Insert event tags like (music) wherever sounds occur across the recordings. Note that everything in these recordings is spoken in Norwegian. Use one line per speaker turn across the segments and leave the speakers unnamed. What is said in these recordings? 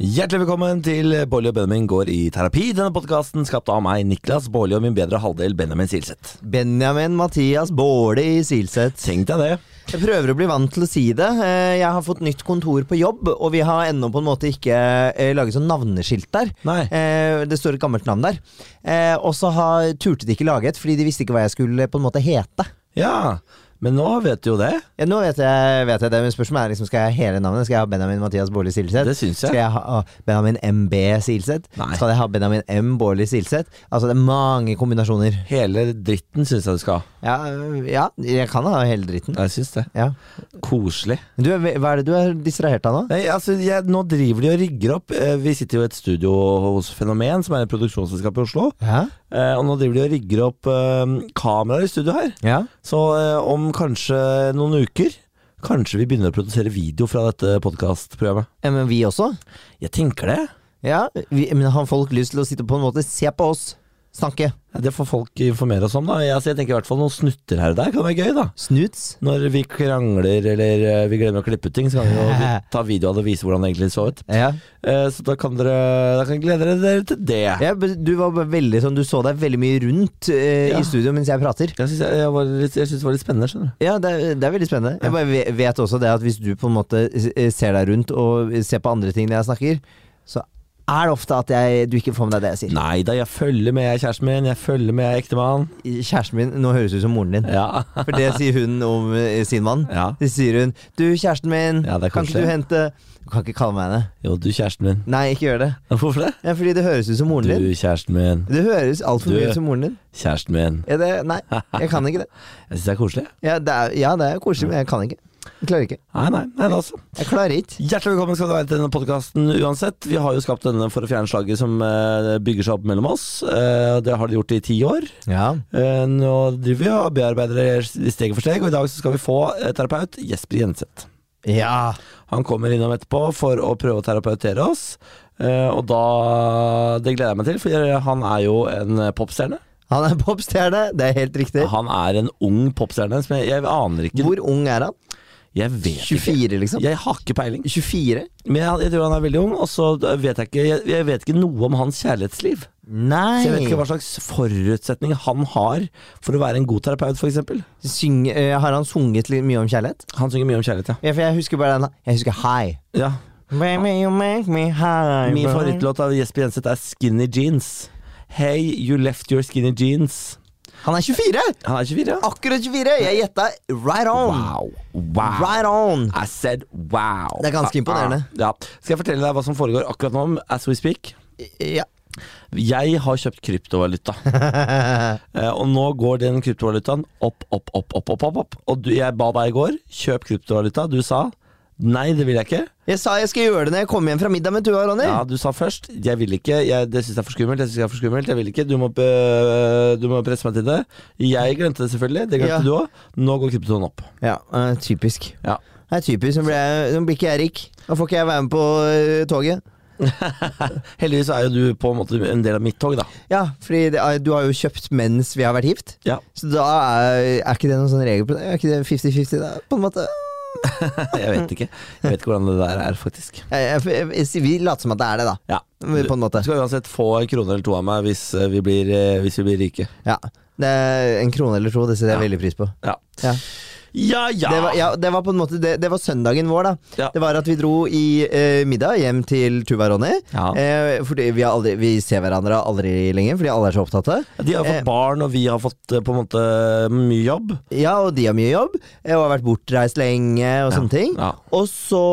Hjertelig velkommen til Bårli og Benjamin går i terapi. Denne podkasten skapt av meg, Niklas Bårli, og min bedre halvdel Benjamin Silseth.
Benjamin Mathias Båle i Silseth.
Tenk deg det.
Jeg prøver å bli vant til å si det. Eh, Jeg har fått nytt kontor på jobb, og vi har ennå på en måte ikke eh, laget sånn navneskilt der.
Nei.
Eh, Det står et gammelt navn der. Eh, Og så har- turte de ikke lage et, fordi de visste ikke hva jeg skulle på en måte hete.
Ja, men nå vet du jo det.
Ja, nå vet jeg, vet jeg det, men spørsmålet er liksom, skal jeg ha hele navnet? Skal jeg ha Benjamin Mathias Bårli Silseth?
Det syns jeg.
Skal jeg ha ah, Benjamin MB Silseth?
Nei.
Skal jeg ha Benjamin M Bårli Silseth? Altså, det er mange kombinasjoner.
Hele dritten syns jeg du skal ha.
Ja, øh, ja, jeg kan ha hele dritten.
Jeg syns det.
Ja.
Koselig.
Men Du, hva er det du er distrahert av nå?
Nei, altså, jeg, nå driver de og rigger opp. Eh, Vi sitter jo i et studio hos Fenomen, som er et produksjonsselskap i Oslo.
Ja.
Eh, Og nå driver de og rigger opp eh, kameraer i studio her.
ja.
Så eh, om kanskje noen uker Kanskje vi begynner å produsere video fra dette podkastprogrammet.
Men vi også?
Jeg tenker det.
Ja, vi, men har folk lyst til å sitte på en måte se på oss snakke?
Ja, Det får folk informere oss om, da. Jeg, altså, jeg tenker i hvert fall noen snutter her og der kan være gøy, da.
Snuts?
Når vi krangler eller eh, vi glemmer å klippe ut ting, så kan vi jo ta video av det og vise hvordan det egentlig så ut.
Ja.
Eh, Så da kan dere da kan glede dere- dere til det.
ja. men Du var bare veldig sånn, du så deg veldig mye rundt eh,
Ja.
i studio mens jeg prater.
Jeg syns jeg, jeg var litt- jeg synes det var litt spennende, skjønner du.
Ja, det er, det er veldig spennende. Jeg bare ve- vet også det at hvis du på en måte eh, ser deg rundt og ser på andre ting når jeg snakker, så er det ofte at jeg, du ikke får med deg det jeg sier.
Nei da, jeg følger med, jeg er kjæresten min. Jeg følger med, jeg er ektemann.
Kjæresten min Nå høres det ut som moren din.
Ja.
For det sier hun om eh, sin mann.
ja.
Så sier hun 'Du, kjæresten min,
Ja, det er
kan ikke
koselig.
du hente Du kan ikke kalle meg henne.
Jo, du kjæresten min. (laughs)
Nei, ikke gjør det.
Hvorfor det?
Ja, fordi det høres ut som moren
Du
din.
kjæresten min.
Det høres altfor
Du-
mye ut som moren din.
Kjæresten min.
Ja, det, nei, jeg kan ikke det.
Jeg syns det er koselig.
Ja, det er, ja, det er koselig, men jeg kan ikke. Jeg klarer ikke.
Nei, nei, nei, altså.
Jeg klarer ikke.
Hjertelig velkommen skal du være til denne podkasten uansett. Vi har jo skapt denne for å fjerne slaget som eh, bygger seg opp mellom oss. Eh, Det har de gjort i ti år.
Ja.
Eh, Nå driver vi og bearbeider det steg for steg, og i dag så skal vi få eh, terapeut Jesper Jenseth.
ja.
Han kommer innom etterpå for å prøve å terapeutere oss, eh, og da Det gleder jeg meg til, for han er jo en eh, popstjerne.
Han er popstjerne, det er helt riktig.
Han er en ung popstjerne som jeg, jeg aner ikke
Hvor ung er han?
Jeg vet ikke.
24, liksom?
Jeg har ikke peiling.
24?
Men jeg, jeg tror han er veldig ung, og så vet jeg ikke Jeg, jeg vet ikke noe om hans kjærlighetsliv.
Nei!
Så jeg vet ikke hva slags forutsetning han har for å være en god terapeut, f.eks.
Syng, eh, har han sunget litt mye om kjærlighet?
Han synger mye om kjærlighet,
Ja, for jeg husker bare den Jeg husker High.
ja. ja.
Baby, you make me high.
Min
bro.
favorittlåt av Jesper Jenseth er 'Skinny Jeans'. Hey, you left your skinny jeans.
Han er 24!
Han er 24, ja.
Akkurat 24! Jeg gjetta right on!
Wow. wow.
Right on!
I said wow.
Det er
Ah,
ganske
ah.
imponerende.
Ja. Skal jeg fortelle deg hva som foregår akkurat nå, as we speak? (laughs)
Ja.
Jeg har kjøpt kryptovaluta. Eh, Og nå går den kryptovalutaen opp, opp, opp, opp, opp, opp, opp. Og du, jeg ba deg i går, kjøp kryptovaluta. Du sa nei, det vil jeg ikke.
Jeg sa jeg skal gjøre det når jeg kommer hjem fra middag med Tua og Ronny.
Ja, du sa først, jeg vil ikke, jeg, det synes jeg er for skummelt, jeg synes jeg er for skummelt, jeg vil ikke, du må, be- du må presse meg til det. Jeg glemte det selvfølgelig, det glemte
Ja.
du også. Nå går kryptoen opp.
Ja, eh, typisk.
Ja.
Det er typisk, Nå blir, jeg, nå blir ikke jeg rik. Da får ikke jeg være med på eh, toget.
(laughs) Heldigvis er jo du på en måte en del av mitt tog da.
Ja, fordi det, er- du har jo kjøpt mens vi har vært gift.
Ja.
Så da er, er ikke det noen sånn regel på det? Er ikke det 50-50 da, på en måte?
(laughs) Jeg vet ikke, jeg vet ikke hvordan det der er faktisk.
Jeg, jeg, jeg, jeg, vi later som at det er det, da.
Ja. Du
På en måte.
skal uansett få en krone eller to av meg hvis eh, vi blir, eh, hvis vi blir rike.
Ja. Det er en krone eller to, det setter jeg
Ja.
veldig pris på.
Ja.
Ja.
Ja, ja!
Det, var, ja, det var på en måte Det, det var søndagen vår, da.
Ja.
Det var at vi dro i eh, middag hjem til Tuva og Ronny.
Ja.
Eh, fordi vi, har aldri, vi ser hverandre aldri lenger, fordi alle er så opptatte.
Ja, De har fått
Eh,
barn, og vi har fått eh, på en måte mye jobb.
Ja, og de har mye jobb, eh, og har vært bortreist lenge og sånne ting.
Ja.
Og så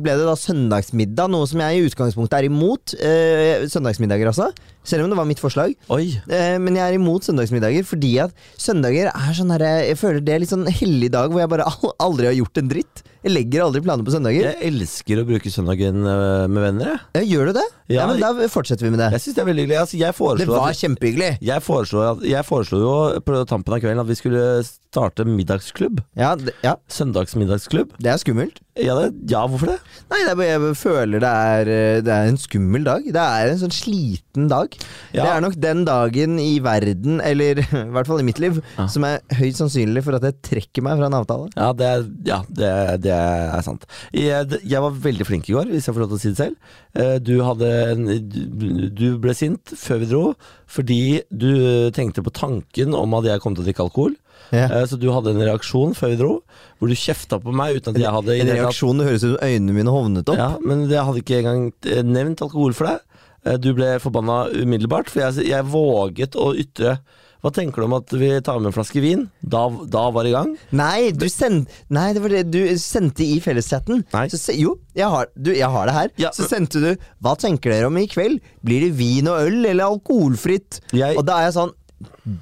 ble det da søndagsmiddag, noe som jeg i utgangspunktet er imot. Eh, søndagsmiddager, altså. Selv om det var mitt forslag.
Oi.
Eh, Men jeg er imot søndagsmiddager fordi at søndager er sånn her Jeg føler det er litt sånn hellig dag hvor jeg bare al- aldri har gjort en dritt. Jeg legger aldri planer på søndager.
Jeg elsker å bruke søndagen eh, med venner, jeg.
Ja, gjør du det? Ja,
Ja,
men da fortsetter vi med det.
Jeg syns det er veldig hyggelig. Altså, jeg
Det
foreslo
var
at
kjempehyggelig.
jeg foreslo, at, jeg foreslo jo på tampen av kvelden at vi skulle starte middagsklubb.
Ja, det, ja,
Søndagsmiddagsklubb.
det er skummelt.
Ja, det, ja hvorfor det?
Nei, det er, bare- jeg føler det er, eh, det er en skummel dag. Det er en sånn sliten dag.
Ja.
Det er nok den dagen i verden, eller (laughs) i hvert fall i mitt liv,
Ja.
som er høyt sannsynlig for at jeg trekker meg fra en avtale.
Ja, det, er- ja, det, det er sant. Jeg, det- jeg var veldig flink i går, hvis jeg får lov til å si det selv. Eh, Du, hadde en, du- du ble sint før vi dro fordi du tenkte på tanken om at jeg kom til å drikke alkohol.
Ja.
Eh, Så du hadde en reaksjon før vi dro, hvor du kjefta på meg uten at jeg hadde i
En
det hele tatt-
reaksjon det høres ut som øynene mine hovnet opp.
Ja, men jeg hadde ikke engang eh, nevnt alkohol for deg. Eh, Du ble forbanna umiddelbart, for jeg, jeg våget å ytre Hva tenker du om at vi tar med en flaske vin? Da, da var det i gang.
Nei, du send, nei, det var det du sendte i felleschatten.
Nei.
Så se, jo, jeg har, du, jeg har det her.
Ja,
Så
men-
sendte du 'Hva tenker dere om i kveld? Blir det vin og øl eller alkoholfritt?'
Jeg-
Og da er jeg sånn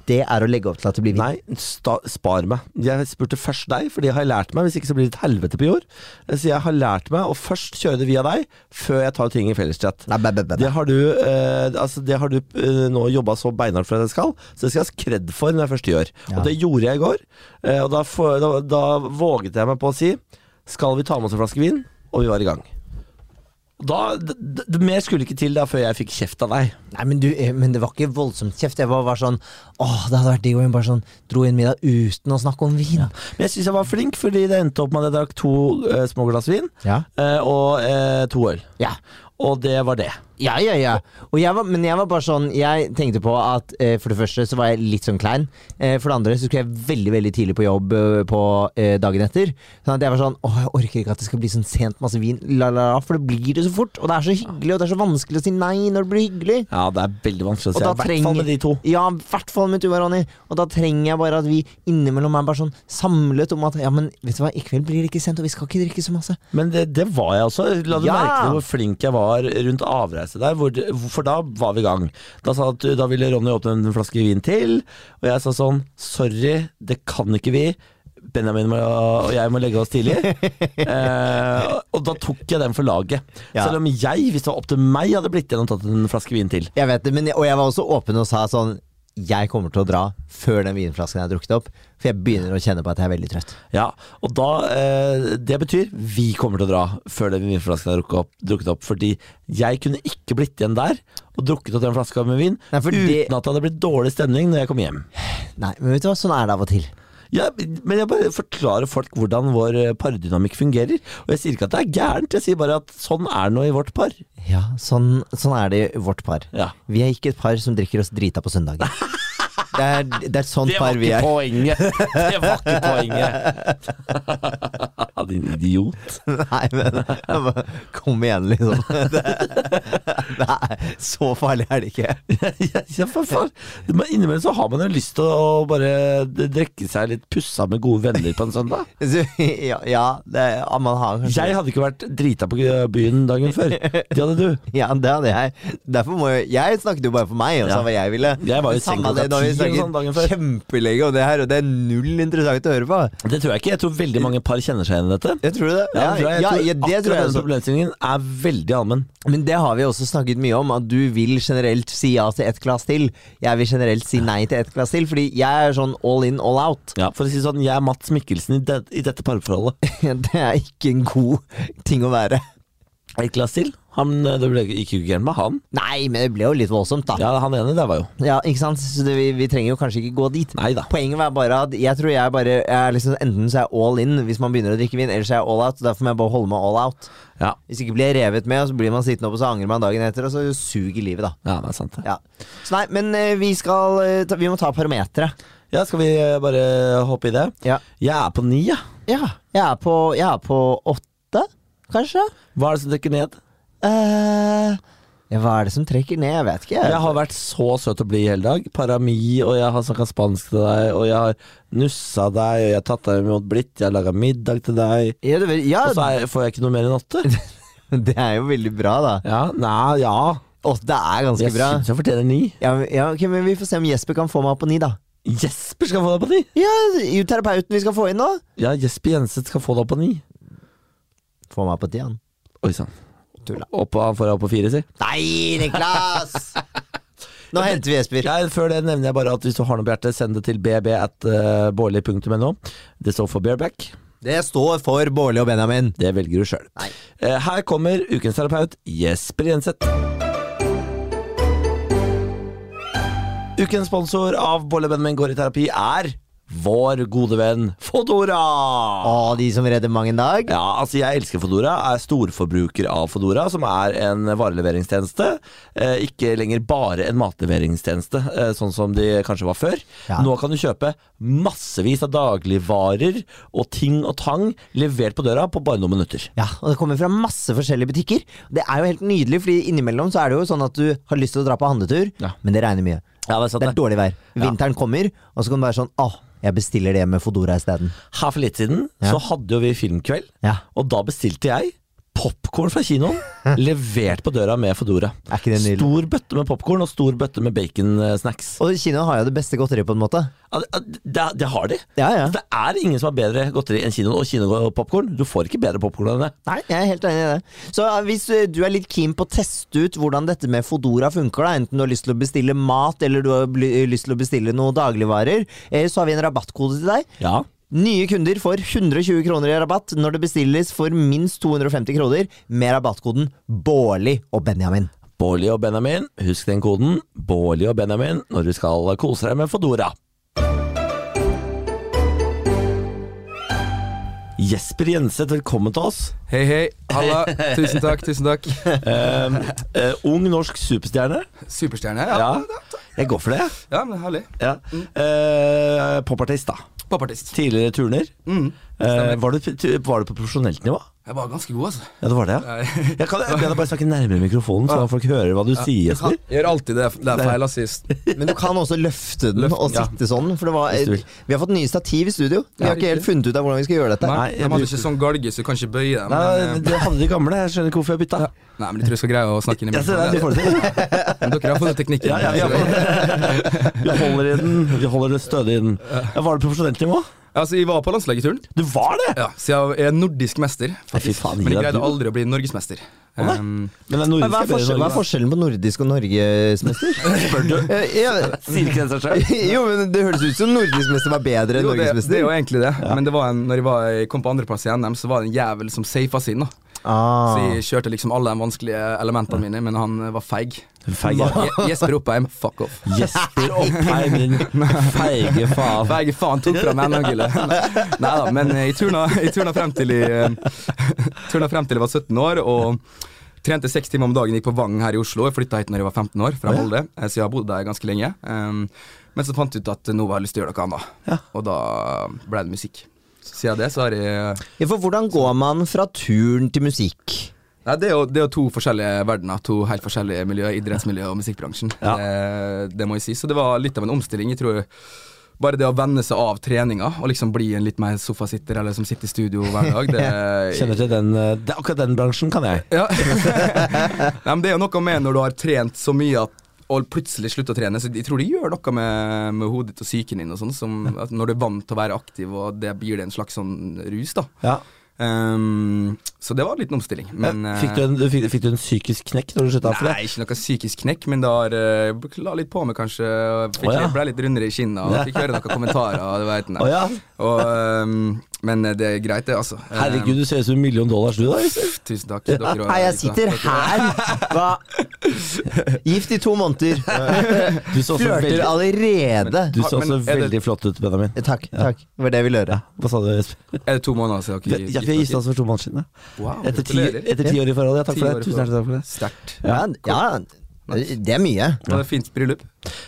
Det er å legge opp til at det blir vin.
Nei, sta, spar meg. Jeg spurte først deg, for det har jeg lært meg. Hvis ikke så blir det et helvete på jord. Eh, Så jeg har lært meg å først kjøre det via deg, før jeg tar ting i felleschat.
Nei, bæ, bæ, bæ, bæ.
Det har du, eh, altså det har du eh, nå jobba så beinhardt for at jeg skal, så det skal jeg ha kred for når jeg først gjør.
Ja.
Og det gjorde jeg i går. Eh, og da, får- da, da våget jeg meg på å si Skal vi ta med oss en flaske vin? Og vi var i gang. Da, d, d, d- mer skulle ikke til da før jeg fikk kjeft av deg.
Nei, men, du, eh, men det var ikke voldsomt kjeft. Jeg var bare sånn Åh, det hadde vært digg om hun bare sånn dro i en middag uten å snakke om vin.
Men jeg syns jeg var flink, fordi det endte opp med at jeg drakk to eh, små glass vin
Ja.
eh, og eh, to øl.
Ja.
Og det var det.
Ja, ja, ja. Og jeg var, men jeg var bare sånn Jeg tenkte på at eh, for det første så var jeg litt sånn klein. Eh, for det andre så skulle jeg veldig veldig tidlig på jobb eh, på eh, dagen etter. Sånn at jeg var sånn Åh, jeg orker ikke at det skal bli sånn sent masse vin, la, la, la, for det blir det så fort. Og det er så hyggelig, og det er så vanskelig å si nei når det blir hyggelig.
Ja, det er veldig vanskelig å
Og
si.
da
I hvert fall
trenger-
med de to.
Ja, i hvert fall med Tuva Ronny. Og da trenger jeg bare at vi innimellom er bare sånn samlet om at ja, men vet du hva, i kveld blir det ikke sent, og vi skal ikke drikke så masse.
Men det, det var jeg også. La du
Ja!
merke til hvor flink jeg var rundt avreise der? Hvor, for da var vi i gang. Da, sa at, da ville Ronny åpne en flaske vin til, og jeg sa sånn Sorry, det kan ikke vi. Benjamin må, og jeg må legge oss (laughs) tidlig. eh, og da tok jeg den for laget.
Ja.
Selv om jeg, hvis det var opp til meg, hadde blitt igjen og tatt en flaske vin til.
Jeg vet det, men, og jeg var også åpen og sa sånn Jeg kommer til å dra før den vinflasken er drukket opp, for jeg begynner å kjenne på at jeg er veldig trøtt.
Ja, og da, eh, Det betyr vi kommer til å dra før den vinflasken er drukket opp, drukket opp. Fordi jeg kunne ikke blitt igjen der og drukket opp den flaska med vin
Nei, for det-
uten at det hadde blitt dårlig stemning når jeg kom hjem.
Nei, men vet du hva, sånn er det av og til.
Ja, men jeg bare forklarer folk hvordan vår eh, pardynamikk fungerer. Og jeg sier ikke at det er gærent, jeg sier bare at sånn er det nå i vårt par.
Ja, sånn, sånn er det i vårt par.
Ja.
Vi er ikke et par som drikker oss drita på søndager. Det er, det er et sånt Sånn par vi er.
poenget! Det var ikke poenget! (laughs) Din idiot.
(laughs) Nei, men bare, kom igjen, liksom. Det, nei, så farlig er det ikke.
ja, for faen. Men Innimellom så har man jo lyst til å bare drikke seg litt pussa med gode venner på en søndag.
Så, ja, ja, det, ja, man har kanskje
Jeg hadde ikke vært drita på byen dagen før. Det hadde du.
(laughs) Ja, det hadde jeg. Derfor må jeg, jeg snakket jo bare for meg, og sa
Ja.
hva jeg ville.
Jeg var jo i seng
Samme
klokka
det, nå har vi
ti eller sånn dagen før.
snakket kjempelenge om det her, og det er null interessant å høre på.
Det tror jeg ikke. Jeg tror veldig mange par kjenner seg igjen i dette.
Jeg tror det.
Ja, det tror jeg, jeg
ja,
tror
ja, det tror
akkurat
jeg
den
også.
problemstillingen er veldig allmenn.
Men det har vi også snakket mye om, at du vil generelt si ja til ett glass til. Jeg vil generelt si nei til ett glass til, fordi jeg er sånn all in, all out. (laughs)
Ja, for å si sånn, jeg er Mats Mikkelsen i, det, i dette parforholdet.
Det er ikke en god ting å være.
Et glass til? Han, eh, det ble, gikk jo ikke gærent med han.
Nei, men det ble jo litt voldsomt, da.
Ja, han ene, det var jo
Ja, ikke sant? Så det, vi, vi trenger jo kanskje ikke gå dit.
Nei da.
Poenget var bare at jeg tror jeg bare jeg er liksom, Enten så er jeg all in hvis man begynner å drikke vin, eller så er jeg all out. Derfor må jeg bare holde meg all out.
Ja,
Hvis ikke blir jeg revet med, og så blir man sittende opp, og så angrer man dagen etter, og så suger livet, da.
ja det er sant. det.
Ja. Så nei, men eh, vi skal eh, ta, Vi må ta parometeret.
Ja, skal vi eh, bare hoppe i det?
Ja.
Jeg er på ni, ja.
ja. Jeg er på, jeg er på åtte, kanskje?
Hva er det som dekker ned?
eh ja, hva er det som trekker ned? Jeg vet ikke.
Jeg har vært så søt og blid i hele dag. Parami, og jeg har snakka spansk til deg, og jeg har nussa deg, og jeg har tatt deg imot blitt, jeg har laga middag til deg.
Ja, det, ja,
Og så er, får jeg ikke noe mer enn
(laughs)
åtte.
det er jo veldig bra, da.
Ja, nei, ja.
Åtte er ganske
Jeg
bra.
syns jeg fortjener ni.
Ja, men- ja, ok, men Vi får se om Jesper kan få meg opp på ni, da.
Jesper skal få deg på ni!
Ja, jo, Terapeuten vi skal få inn nå.
Ja, Jesper Jenseth skal få deg på ni.
Få meg på ti, han.
Oi sann.
Tulla.
Opp på- Han får deg på fire, si.
Nei, Niklas! (laughs) Nå henter vi Jesper.
Nei, før det nevner jeg bare at hvis du har noe på hjertet, send det til bb at eh, baarli punktum no. Det står for bareback.
Det står for Bårli og Benjamin.
Det velger du sjøl.
Nei.
Eh, Her kommer ukens terapeut Jesper Jenseth. Ukens sponsor av Bolle Benjamin går i terapi er vår gode venn Fodora.
Å, de som redder mang en dag.
Ja, altså jeg elsker Fodora, er storforbruker av Fodora, som er en vareleveringstjeneste. Eh, ikke lenger bare en matleveringstjeneste, eh, sånn som de kanskje var før.
Ja.
Nå kan du kjøpe massevis av dagligvarer og ting og tang levert på døra på bare noen minutter.
Ja, og det kommer fra masse forskjellige butikker. Det er jo helt nydelig, fordi innimellom så er det jo sånn at du har lyst til å dra på handletur,
Ja.
men det regner mye.
Ja, det er sant,
det er
det.
dårlig vær.
Ja.
Vinteren kommer, og så kan du være sånn Åh, jeg bestiller det med Fodora isteden.
Her for litt siden
Ja.
så hadde jo vi filmkveld,
Ja.
og da bestilte jeg popkorn fra
(laughs)
kinoen, levert på døra med Fodora.
Er ikke det nydelig?
Stor bøtte med popkorn og stor bøtte med baconsnacks.
Og kinoen har jo det beste godteriet, på en måte.
Ja, Det, det, det har de.
Ja, ja.
Det er ingen som har bedre godteri enn kinoen og kinopopkorn. Du får ikke bedre popkorn enn det.
Nei, jeg er helt enig i det. Så eh, hvis eh, du er litt keen på å teste ut hvordan dette med Fodora funker, da, enten du har lyst til å bestille mat eller du har bly- eh, lyst til å bestille noen dagligvarer, eh, så har vi en rabattkode til deg.
Ja.
Nye kunder får 120 kroner i rabatt når det bestilles for minst 250 kroner med rabattkoden Bårli og Benjamin.
Bårli og Benjamin, husk den koden. Bårli og Benjamin når du skal kose deg med Fodora. Jesper Jenseth, velkommen til oss.
Hei, hei. Halla. Tusen takk, tusen takk.
(laughs) Eh, eh, ung norsk superstjerne.
Superstjerne. Ja,
Ja, jeg går for det.
ja men herlig.
Ja. Eh, Popartist, da.
Popartist.
Tidligere turner.
Mm.
Eh, var, du, var du på profesjonelt nivå?
Jeg var ganske god, altså.
Ja, det var det, ja.
Jeg-
Jeg kan jeg kan bare snakke nærmere mikrofonen, så folk hører hva du sier, Jesper.
Jeg gjør alltid det, det er feil altså. assist.
(laughs)
Men du kan også løfte den og
ja.
sitte sånn. For det var,
Hvis du vil.
vi har fått nye stativ i studio. Vi
Ja,
har ikke helt
riktig.
funnet ut av hvordan vi skal gjøre dette.
Nei,
jeg
de hadde
brukte-
ikke sånn galge, så du kan ikke bøye dem.
Nei,
Men, eh,
det hadde de gamle, jeg skjønner ikke hvorfor jeg bytta.
ja. Nei, men jeg tror jeg skal greie å snakke inn i
Jeg ser det, du
mikrofonen.
får det til.
Men dere har fått teknikken.
(laughs) Ja, ja, vi, har fått det. vi holder i den, vi holder det stødig i den. Ja, var det profesjonelt nivå?
Altså, jeg var på landslageturen,
Du var det!
ja, så jeg er nordisk mester.
Fy
Faktisk.
faen,
Men jeg
Ida,
greide
du-
aldri å bli norgesmester.
Å, nei.
Um,
Men det er nordisk
Hva er, forskjell, hva er forskjellen på nordisk og
(laughs)
norgesmester?
Spør du?
Eh, ja,
Sier ikke den seg selv?
(laughs) jo, men det høres ut som nordisk mester var bedre enn
jo, det, det er
norgesmester.
jo egentlig det, men det var en, når jeg var, jeg kom på andreplass i NM, så var det en jævel som safa sin. da Så
Ah.
jeg kjørte liksom alle de vanskelige elementene mine, men han eh, var feig.
Feig, ja.
Je- Jesper Oppheim, fuck off.
Jesper Oppheim, din feige faen.
Feig faen tok fra meg
(laughs)
NM-gullet. Nei da, men eh, jeg turna, jeg turna frem til jeg, (laughs) turna frem til jeg var 17 år, og trente seks timer om dagen, gikk på Vang her i Oslo. Jeg flytta hit når jeg var 15 år, fra Molde, eh, så jeg har bodd der ganske lenge. Um, men så fant jeg ut at nå har jeg lyst til å gjøre noe annet, og da ble det musikk. Så siden det så har jeg
Ja, for hvordan går man fra turn til musikk?
Nei, det er, jo, det er jo to forskjellige verdener. To helt forskjellige miljø. Idrettsmiljø og musikkbransjen.
Ja.
Det, det må jeg si. Så det var litt av en omstilling. Jeg tror bare det å venne seg av treninga og liksom bli en litt mer sofasitter eller som sitter i studio hver dag,
(laughs)
det
Kjenner til den, eh, det, akkurat den bransjen kan jeg.
ja. (laughs) Nei, men det er jo noe med når du har trent så mye at og plutselig slutter å trene, så jeg tror det gjør noe med, med hodet ditt og psyken din og sånn, som at når du er vant til å være aktiv, og det gir deg en slags sånn rus, da.
Ja. Eh,
Ehm, så det var en liten omstilling, men eh,
Fikk du en, du fikk, fikk du en psykisk knekk når du slutta for det?
Nei, ikke noe psykisk knekk, men det har eh, la litt på meg, kanskje. og Fikk,
Å, ja.
Ble litt rundere i kinna og fikk høre noen kommentarer. og Du vet, nei.
Å ja.
og, ehm, men det er greit, det, altså. Ehm,
Herregud, du ser ut som en million dollars du da. Jesper.
Tusen takk. Dere var-
Hei, jeg sitter her! Hva? Gift i to måneder.
Du så også
Flørter
veldig,
allerede. Eh,
du så
Men
også
er det-
veldig flott ut, Benjamin.
Takk, takk. Det var det vi ville høre.
Hva sa du, Jesper?
Er det to måneder siden
Vi
dere
ja, vi har gifta oss for to måneder siden. ja.
Wow,
Etter ti,
gratulerer.
etter ti år i forhold. Ja, takk
Ti
for
år
det.
i
Tusen hjertelig takk for det.
Sterkt.
Ja, ja, det er mye.
Det var et fint bryllup.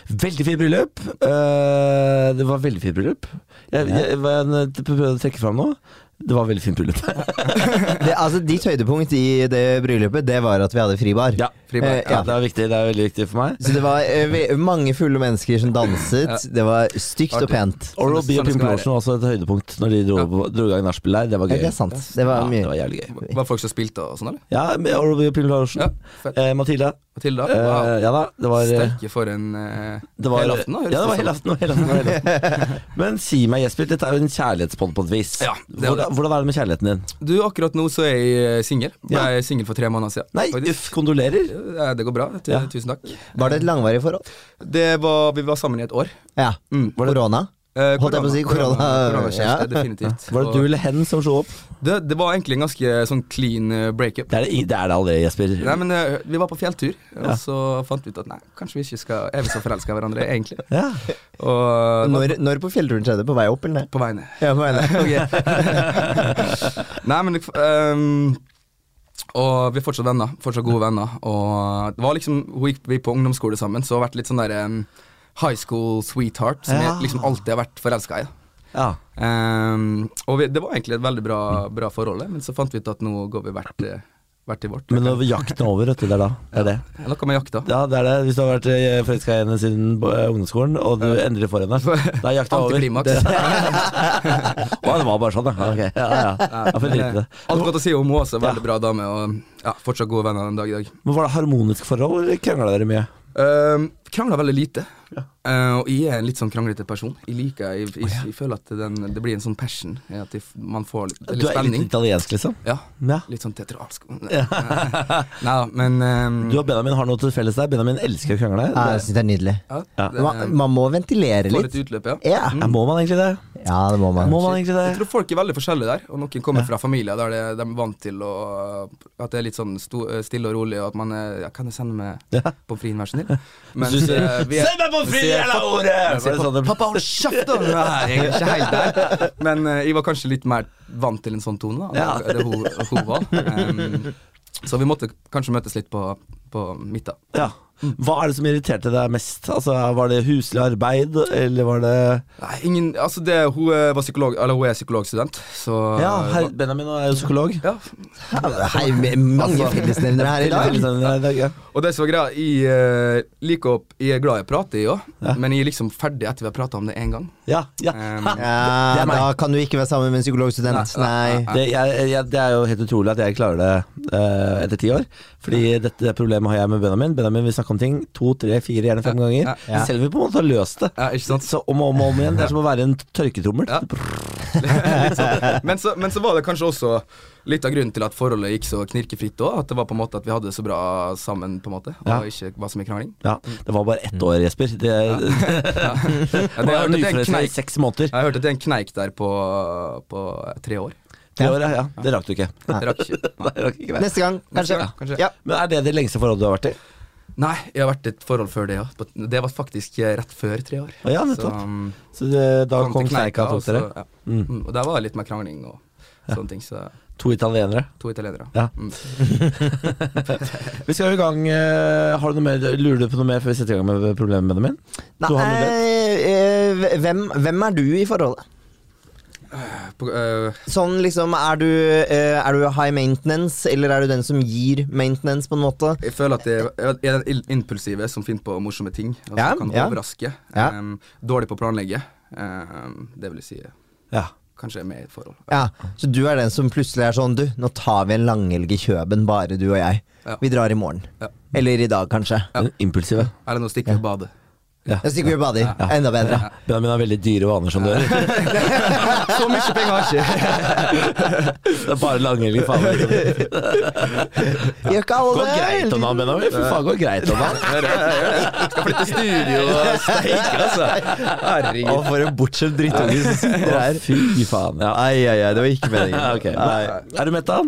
Veldig fint bryllup. Eh, det var veldig fint bryllup. Jeg, jeg, jeg, prøvde å trekke fram noe. Det var veldig fint bryllup. (laughs)
Det, altså, Ditt høydepunkt i det bryllupet, det var at vi hadde fribar.
Ja,
Fribar.
Eh,
Ja,
ja.
det er viktig. Det er veldig viktig for meg.
Så det var eh, ve- mange fulle mennesker som danset. Det var stygt og
Artig.
pent.
Oral
det-
B
sånn
og
det
Pimp
skal være.
Lotion var også et høydepunkt når de dro, dro i gang nachspiel der. Det var
Ja,
gøy.
det er sant. Det var
Ja, det
mye.
var jævlig gøy.
Var det folk som spilte og sånn, eller?
Ja, med Oral B og Pimp Lotion.
Ja, fett.
Eh, Mathilde.
Matilda?
Eh,
Wow.
ja da, det var eh,
Sterke for en eh,
Det var,
Hele aften, da, høres
Ja, det
det
var
som.
hele aften, og hele aften, og hele aften.
(laughs)
Men si meg, Jesper, dette er jo en kjærlighetspod på et vis.
Ja, det er jo det.
hvordan, hvordan er det med kjærligheten din?
Du, akkurat nå så er jeg eh, singel. Ble
Ja.
singel for tre måneder siden.
Nei,
faktisk.
uff, kondolerer.
Ja, Det går bra. Tu-
Ja.
Tusen takk.
Var det et langvarig forhold?
Det var, Vi var sammen i et år.
Ja.
Mm.
Korona?
Eh,
Holdt jeg på å si korona-
korona- koronakjæreste,
ja.
definitivt.
Var det du eller hen som slo opp?
Det, det var egentlig en ganske sånn clean eh, breakup.
Det er det, i- det, er det aldri, Jesper.
Nei, men eh, vi var på fjelltur, og så fant vi ut at nei, kanskje vi ikke skal Er vi så forelska i hverandre,
(laughs)
egentlig?
Ja.
Og eh,
Når, når på fjellturen skjedde? På vei opp, eller ned?
på
(laughs)
vei ned.
Ja, på vei ned.
(laughs) Nei, men ehm, Og vi er fortsatt venner. Fortsatt gode venner. Og det var liksom Hun gikk vi på ungdomsskole sammen, så hun har vært litt sånn der ehm, high school sweetheart, som
Ja.
jeg liksom alltid har vært forelska i. da.
ja.
Ehm, og vi, det var egentlig et veldig bra, bra forhold, men så fant vi ut at nå går vi hvert, eh, hvert til vårt.
Men når jakten er over, vet du, det er da. Det er det.
Noe med jakta.
Ja, det er det. Hvis du har vært eh, forelska i henne siden eh, ungdomsskolen, og du endelig får
(laughs)
henne, da er jakta over.
Antiklimaks.
Det- (laughs) Å, det var bare sånn, ja. Ok, ja, ja. ja. for drit i det.
(laughs) Alt godt å si om henne også. Veldig bra dame, og ja, fortsatt gode venner den dag i dag.
Men Var det harmonisk forhold, eller krangla dere mye?
Um, krangler veldig lite. Eh, og jeg er en litt sånn kranglete person. Jeg liker Jeg, jeg, jeg føler at den, det blir en sånn passion. eh, At jeg, f- man får litt,
Du
det er litt
er litt
spenning.
italiensk, liksom?
Ja.
Ja.
Litt sånn teatralsk. (laughs) Nei da, men ehm,
Du og Benjamin har noe til felles der. Benjamin elsker å krangle.
Ja, jeg synes det er nydelig.
ja,
Ja.
det-
Man, man må ventilere
får
litt.
et utløp, ja.
Ja.
Ja, må man egentlig det?
ja, det må man.
Mm. Må man egentlig
Jeg
det?
tror folk er veldig forskjellige der, og noen kommer fra familier der det, de er vant til å, at det er litt sånn sto, stille og rolig, og at man er ja, Kan du sende meg
Ja.
pommes frites, vær
(laughs)
så snill? Mens,
Hvis du sier,
eh, vi er-
«Send meg pommes frites,
mens jeg-
jævla ordet!»
mens
Var det
jeg-
sånn det-
Pappa, hold kjeft! da! Nei, jeg er ikke helt der. Men eh, jeg var kanskje litt mer vant til en sånn tone, da.
Ja.
Det hun, hun var. Em, så vi måtte kanskje møtes litt på, på midten.
Ja. Hva er det som irriterte deg mest? Altså, Var det huslig arbeid, eller var det
Nei, ingen Altså, det, hun, eh, var psykolog, eller, hun er psykologstudent, så
Ja, her, Benjamin er jo psykolog.
ja,
Ja, Hei, med mange fellesnevnere her i dag.
Fellesnevner i dag, ja.
Og det som var greia, jeg eh, liker å Jeg er glad jeg prater, jeg òg, men jeg er liksom ferdig etter vi har prata om det én gang.
Ja, ja. (laughs)
Em,
Ha. Det
Ja,
er meg.
da kan du ikke være sammen med en psykologstudent. Nei.
Det, jeg, jeg, det er jo helt utrolig at jeg klarer det eh, etter ti år. Fordi dette det problemet har jeg med Benjamin. Benjamin vil snakke om ting to, tre, fire, gjerne fem ganger.
ja.
Selv om vi på en måte har løst det.
Ja, ikke sant?
Så om og om, og om igjen. Det er som å være en tørketrommel.
Ja.
(laughs)
Litt sånn. men, så, men så var det kanskje også litt av grunnen til at forholdet gikk så knirkefritt òg. At det var på en måte at vi hadde det så bra sammen, på en måte. Og
Ja.
ikke var så mye
(laughs)
krangling.
Ja, Det var bare ett år, Jesper. (laughs) Det,
Ja, det,
det
jeg,
var
hørte at det er en
nyforelska i
kneik,
seks måneder.
jeg hørte at det er en kneik der på, på tre år.
Tre år, ja. ja. Det rakk du ikke.
Det
(laughs)
rakk ikke.
Nei, det rakk ikke det.
Neste gang,
Neste
kanskje.
gang, kanskje.
Ja.
Men er det det lengste forholdet du har vært i?
Nei, jeg har vært i et forhold før det òg. Det var faktisk eh, rett før tre år.
Å ja,
så
nettopp.
um,
Så
eh,
det, da
kom
kom
til
kneika
kneika,
tok
og så-
dere.
ja. Mm, Og der var det litt mer krangling og sånne ting. Så
To italienere.
to italienere.
Ja.
Mm.
Vi skal jo i gang. eh, Har du noe mer, lurer du på noe mer før vi setter i gang med problemet, Benjamin? Du har noe mer?
Nei, eh, hvem, hvem er du i forholdet?
På, eh,
Sånn liksom, er du, eh, er du high maintenance, eller er du den som gir maintenance, på en måte?
jeg føler at jeg jeg er den il- impulsive som finner på morsomme ting. Og som
Ja,
kan
ja.
overraske.
Ja.
Em, dårlig på å planlegge. Em, det vil si eh,
Ja.
kanskje jeg er med i et forhold.
Ja, Så du er den som plutselig er sånn Du, nå tar vi en langhelg i Kjøben, bare du og jeg.
Ja.
Vi drar i morgen.
Ja.
Eller i dag, kanskje.
Den impulsive.
Eller nå stikker vi og bader.
Ja.
Jeg stikker vi og bader. Enda bedre.
Benjamin har veldig dyre vaner som du (laughs) gjør.
Så mye penger har jeg ikke!
(laughs) Det er bare langhelger, (laughs) faen. Det
Gjør ikke alle
går
det?
greit om han, Benjamin. Fy faen, går greit om han.
Skal flytte studio og steike, altså.
Å,
Herregud.
for en bortskjemt drittunge som sitter her.
Fy faen. Ja.
Ai, ai, ai, det var ikke meningen.
(laughs) Ok. Er du mett, da?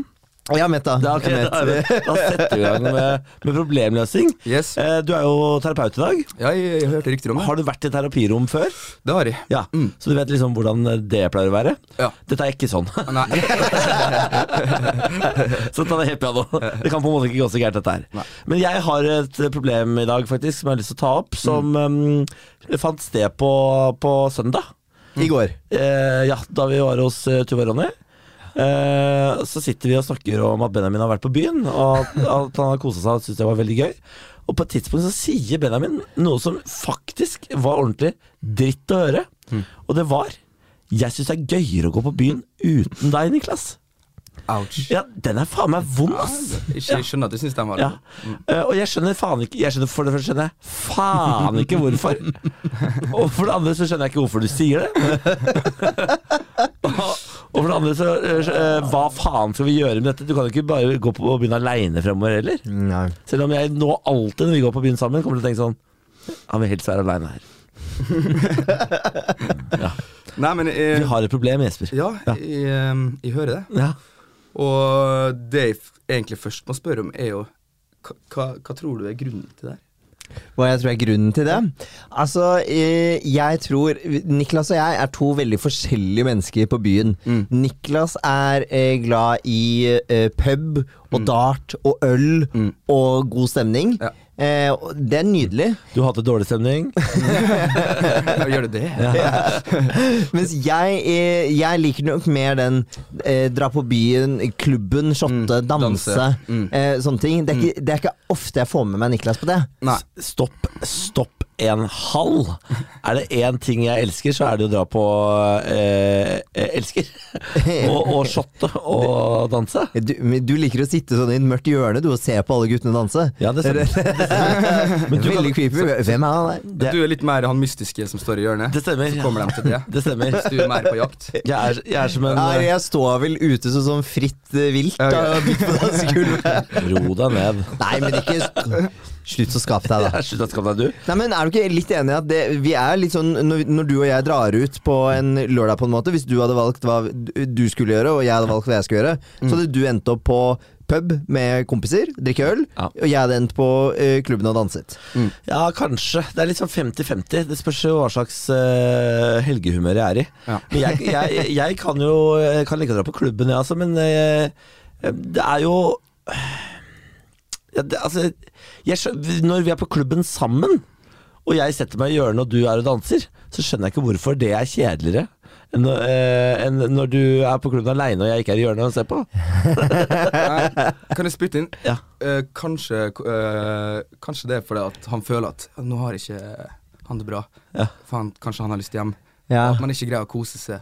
Ja, Metta.
Da, ok,
Jeg
da,
vet.
da setter vi i gang med, med problemløsning.
Yes.
Eh, Du er jo terapeut i dag.
Ja, jeg, jeg hørte rykter om det.
Har du vært i terapirom før?
Det har jeg. Mm.
Ja, Så du vet liksom hvordan det pleier å være?
Ja.
Dette er ikke sånn. (laughs)
Nei.
Så ta det helt piano. Det kan på en måte ikke gå så gærent, dette her.
Nei.
Men jeg har et problem i dag, faktisk, som jeg har lyst til å ta opp. Som eh, fant sted på, på søndag.
I går.
Eh, ja, da vi var hos eh, Tuva Ronny. Eh, så sitter vi og snakker om at Benjamin har vært på byen, og at, at han har kosa seg og syntes det var veldig gøy. Og på et tidspunkt så sier Benjamin noe som faktisk var ordentlig dritt å høre. Og det var 'Jeg syns det er gøyere å gå på byen uten deg, Niklas'.
Ouch.
Ja, den er faen meg vond, ass.
Ikke, jeg skjønner at du syns den var
Ja.
litt-
Eh, og jeg skjønner faen ikke Jeg skjønner For det første skjønner jeg faen ikke hvorfor. Og for det andre så skjønner jeg ikke hvorfor du sier det. (laughs) og, og for det andre så eh, skj- eh, Hva faen skal vi gjøre med dette? Du kan jo ikke bare gå på byen aleine fremover heller.
Nei.
Selv om jeg nå alltid når vi går på byen sammen, kommer til å tenke sånn Han vil helst være aleine her.
Nei, men jeg,
Vi har et problem, Jesper.
Ja, jeg, ehm, jeg hører det.
Ja.
Og det jeg f- egentlig først må spørre om, er jo hva, hva- hva tror du er grunnen til det? her?
Hva jeg tror er grunnen til det? Altså, eh, jeg tror Niklas og jeg er to veldig forskjellige mennesker på byen.
Mm.
Niklas er eh, glad i eh, pub og dart og øl og god stemning.
Mm. Ja.
Eh, og det er nydelig.
(laughs)
Du har hatt en dårlig stemning.
Gjør det det?
Mens jeg, eh, jeg liker nok mer den eh, dra på byen, klubben, shotte, danse.
danse. Mm.
Eh, sånne ting. Det er, ikke, det er ikke ofte jeg får med meg Niklas på det.
Nei.
S- Stopp, stopp en halv. Er det én ting jeg elsker, så er det å dra på eh, eh,
(laughs)
elsker. Og, og shotte og danse.
Du, men du liker å sitte sånn i et mørkt hjørne du, og se på alle guttene danse.
Ja, det stemmer.
(laughs)
Det stemmer. Men du kan-
Veldig creepy. Hvem er han der?
det,
Du er litt mer han mystiske som står i hjørnet.
det stemmer.
Så kommer de til det.
Det stemmer.
Hvis du er mer på
(laughs)
jakt.
Jeg er, jeg er som en
Nei, jeg står vel ute som sånn fritt eh, vilt. Da,
(laughs)
på skulder.
Ro deg ned.
Nei, men ikke sk- Slutt å skape deg, da.
Jeg slutter å skamme deg, du.
Nei, men Er du ikke litt enig i at det, vi er litt sånn når, når du og jeg drar ut på en lørdag, på en måte hvis du hadde valgt hva du skulle gjøre, og jeg hadde valgt hva jeg skulle gjøre, så hadde du endt opp på pub med kompiser, drikke øl,
Ja.
og jeg hadde endt på eh, klubben og danset.
Ja, kanskje. Det er litt sånn 50-50. Det spørs jo hva slags eh, helgehumør jeg er i.
Ja.
Men jeg, jeg, jeg kan jo jeg kan like å dra på klubben, jeg, altså, men eh, det er jo ja, det, Altså, jeg skjø- når vi er på klubben sammen, og jeg setter meg i hjørnet og du er og danser, så skjønner jeg ikke hvorfor det er kjedeligere enn å- eh, enn når du er på klubben aleine og jeg ikke er i hjørnet og ser på.
Nei, Kan jeg spytte inn?
Ja.
Eh, kanskje, eh, kanskje det er fordi at han føler at nå har ikke han det bra.
Ja.
Faen, kanskje han har lyst hjem.
Ja.
At man ikke greier å kose seg.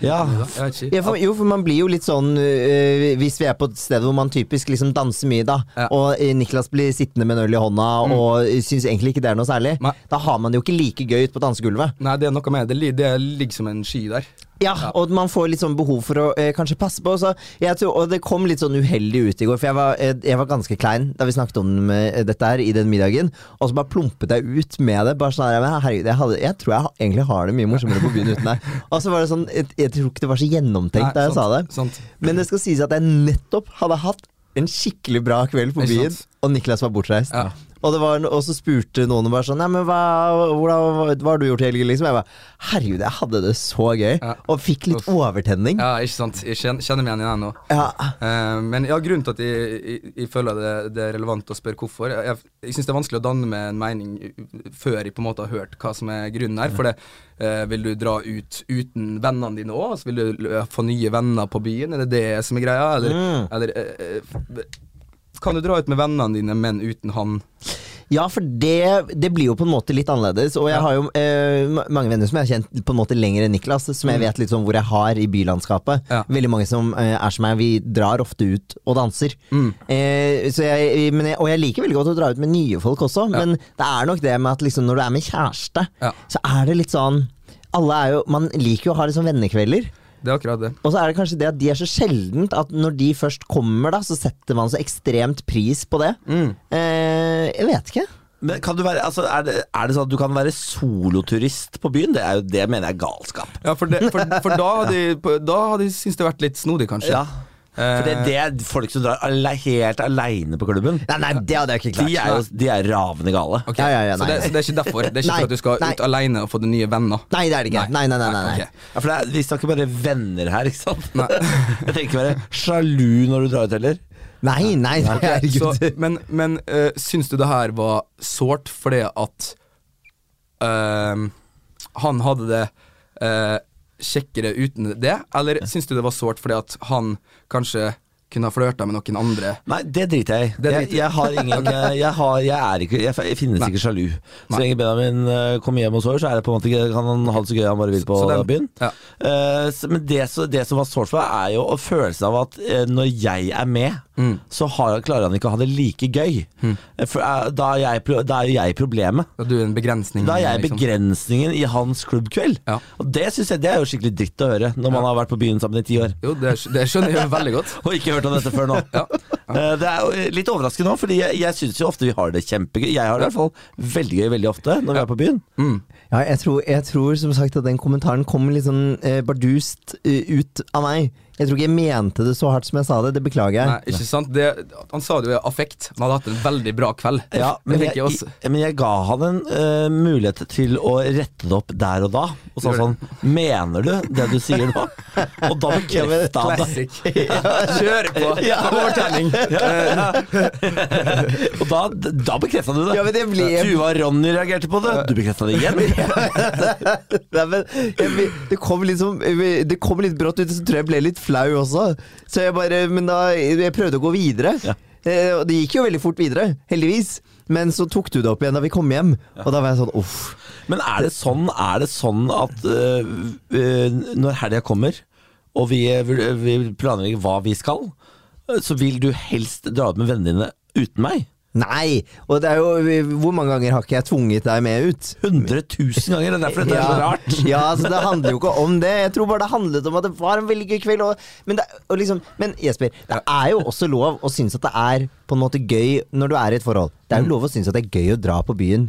ja.
Jeg vet ikke.
Ja, for, jo, for man blir jo litt sånn øh, Hvis vi er på et sted hvor man typisk liksom danser mye, da,
Ja. Mm.
og øh, Niklas blir sittende med en øl i hånda og øh, syns egentlig ikke det er noe særlig,
Nei.
da har man det jo ikke like gøy ute på dansegulvet.
Nei, det er noe med det. Det li- Det ligger som en sky der.
Ja, Og man får litt sånn behov for å øh, kanskje passe på. Så jeg tror, og det kom litt sånn uheldig ut i går, for jeg var, øh, jeg var ganske klein da vi snakket om øh, dette her i den middagen, og så bare plumpet jeg ut med det. Bare sånn her, men herregud, jeg, hadde, jeg tror jeg ha- egentlig har det mye morsommere på byen uten
(laughs)
deg. Og så var det sånn, jeg, jeg tror ikke det var så gjennomtenkt
Nei, sånn
da jeg sa det.
sant, Sant.
Men det skal sies at jeg nettopp hadde hatt en skikkelig bra kveld på
Ikke
byen,
sant?
og Niklas var bortreist.
Ja.
Og, det var, og så spurte noen bare sånn Nei, men hva, hvordan, hva har du gjort i helgen? Liksom. Jeg bare Herregud, jeg hadde det så gøy.
Ja.
Og fikk litt
Uff.
overtenning. Ja.
ja, ikke sant. Jeg kjen- kjenner meg igjen i den nå. Eh, men ja, grunnen til at jeg, jeg, jeg føler det, det er relevant å spørre hvorfor Jeg, jeg, jeg syns det er vanskelig å danne meg en mening u- u- før jeg på en måte har hørt hva som er grunnen her. For det, eh, vil du dra ut uten vennene dine òg? Altså, vil du eh, få nye venner på byen? Er det det som er greia? Eller,
Mm.
eller eh, eh, f- kan du dra ut med vennene dine, men uten han?
Ja, for det, det blir jo på en måte litt annerledes. Og jeg har jo eh, ma- mange venner som jeg har kjent på en måte lenger enn Niklas, som jeg vet litt sånn hvor jeg har i bylandskapet.
Mm. Ja.
Veldig mange som eh, er som meg, vi drar ofte ut og danser.
Mm.
Eh, så jeg, men jeg, og jeg liker veldig godt å dra ut med nye folk også, men det er nok det med at liksom når du er med kjæreste,
Ja.
så er det litt sånn alle er jo, Man liker jo å ha litt sånn vennekvelder.
Det er akkurat det.
Og så er det kanskje det at de er så sjeldent at når de først kommer, da, så setter man så ekstremt pris på det.
Mm.
Eh, jeg vet ikke.
Men kan du være, altså, er, det, er det sånn at du kan være soloturist på byen? Det, er jo, det mener jeg er galskap.
Ja, for, det, for, for da hadde jeg, på- da hadde jeg syntes det vært litt snodig, kanskje.
Ja. For det, det er folk som drar ale helt aleine på klubben.
Nei, nei, det hadde jeg ikke
De
klart.
er jo de er ravende gale.
Ok,
Ja, ja, ja,
så,
nei,
det,
nei.
så det er ikke derfor? Det er ikke
Nei,
for at du skal
nei.
ut alene og få deg nye venner?
Nei, det er det ikke. Nei, nei, nei. nei, nei.
ok.
Ja, for det er, Vi snakker bare venner her, ikke sant? (laughs) Jeg trenger ikke være sjalu når du drar ut heller.
Nei, nei, nei,
Så,
herregud.
(laughs)
men men eh, syns du det her var sårt fordi at ehm, han hadde det eh, kjekkere uten det, eller syns du det var sårt fordi at han kanskje kunne ha flørta med noen andre?
Nei, det driter jeg i.
Det
Jeg,
driter
jeg har
(laughs)
ingen Jeg, har, jeg er ikke Jeg, jeg finnes ikke sjalu. Så lenge Benjamin eh, kommer hjem hos oss, så er det på en måte ikke, kan han ha det så gøy han bare vil på
Så den-
byen.
ja.
Eh, så- men det, så, det som var sårt for meg, er jo å følelsen av at eh, når jeg er med,
Mm.
så har, klarer han ikke å ha det like gøy. Eh, For, eh, da, er jeg, pro- da er jo jeg problemet.
Da du er en begrensning?
Da er jeg
liksom.
begrensningen i hans klubbkveld.
Ja.
Og det synes jeg det er jo skikkelig dritt å høre når man har vært på byen sammen i ti år. (laughs)
Jo, det, skj- det skjønner jeg jo veldig godt.
Og ikke hørt om dette før nå.
Ja.
Eh, Det er jo litt overraskende òg, Fordi jeg, jeg syns jo ofte vi har det kjempegøy. Jeg har det i hvert fall veldig gøy veldig ofte når vi er på byen.
Ja, jeg tror, jeg tror som sagt at den kommentaren kom litt sånn eh, bardust eh, ut av meg. Jeg tror ikke jeg mente det så hardt som jeg sa det, det beklager jeg.
Nei, ikke sant? Det, han sa det jo i affekt. Han hadde hatt en veldig bra kveld.
Ja,
Det
men
fikk
jeg,
jeg også.
jeg- men jeg ga han en eh, mulighet til å rette det opp der og da. Og sa sånn Mener du det du sier nå? Og da bekrefta han det.
Classic. Kjør
(laughs)
på! Overtenning.
Og da, da bekrefta du det.
Ja, men det ble-
Tuva og Ronny reagerte på det. Du bekrefta det igjen.
(laughs) Nei, men jeg, det, kom litt som, det kom litt brått ut, så tror jeg jeg ble litt flau også. Så jeg bare, men da, jeg prøvde å gå videre.
Ja.
Eh, og det gikk jo veldig fort videre, heldigvis. Men så tok du det opp igjen da vi kom hjem, og da var jeg sånn uff.
Men er det sånn, er det sånn at øh, øh, når helga kommer, og vi, øh, vi planlegger hva vi skal, øh, så vil du helst dra ut med vennene dine uten meg?
Nei! Og det er jo, hvor mange ganger har ikke jeg tvunget deg med ut?
100 000 ganger! Det er derfor dette er så rart.
(laughs) ja, altså Det handler jo ikke om det. Jeg tror bare det handlet om at det var en veldig gøy kveld. Og, men, det, og liksom, men Jesper, det er jo også lov å synes at det er på en måte gøy når du er i et forhold. Det er jo lov å synes at det er gøy å dra på byen.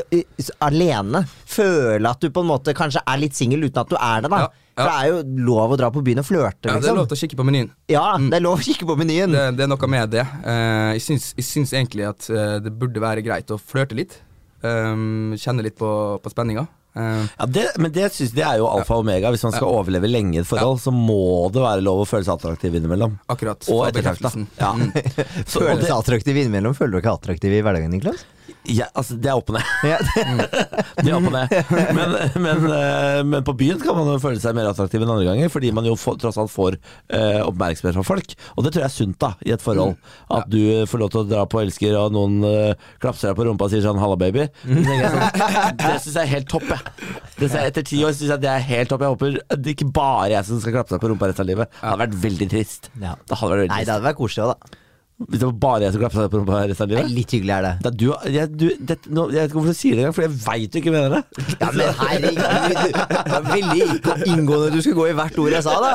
ja, i- s- Alene. Føle at du på en måte kanskje er litt singel uten at du er det. da
Ja, ja.
For det er jo lov å dra på byen og flørte,
Ja, det er
liksom.
lov til å kikke på menyen.
Ja, det er lov å kikke på menyen.
Det, det er noe med det. Eh, jeg, syns, jeg syns egentlig at eh, det burde være greit å flørte litt. Um, kjenne litt på, på spenninga. Eh,
Ja, det, men det synes jeg er jo alfa og omega. Hvis man skal overleve lenge i et forhold, så må det være lov å føle seg attraktiv innimellom.
akkurat.
Og
Få
ettertrakta.
bekreftelsen. Mm.
Ja. (laughs) Så, og
Føler du
det,
deg attraktiv innimellom? Føler du deg ikke attraktiv i hverdagen, Niklas?
ja, altså, det er opp og ned.
Ja.
Mm. Det er opp og ned. Men, men, eh, men på byen kan man jo føle seg mer attraktiv enn andre ganger, fordi man jo får, tross alt får eh, oppmerksomhet fra folk. Og det tror jeg er sunt da, i et forhold. At du får lov til å dra på elsker, og noen eh, klapser deg på rumpa og sier sånn 'halla, baby'. Så tenker jeg Sånn, det syns jeg er helt topp, jeg. Det synes jeg, etter ti år syns jeg det er helt topp. Jeg håper det ikke bare er jeg som skal klapse deg på rumpa resten av livet. Det hadde vært veldig trist.
Ja.
Det hadde vært veldig
(laughs) Nei, det
trist.
hadde vært koselig òg, da.
Hvis det var bare jeg som klapsa deg på rumpa resten av
Nei,
livet.
litt hyggelig er det.
Da, du, jeg, du, det, nå, jeg vet ikke hvorfor du sier det engang, for jeg veit du ikke mener
(laughs)
det.
Ja,
(laughs)
men herregud, det var veldig inngående du skulle gå i hvert ord jeg sa, da.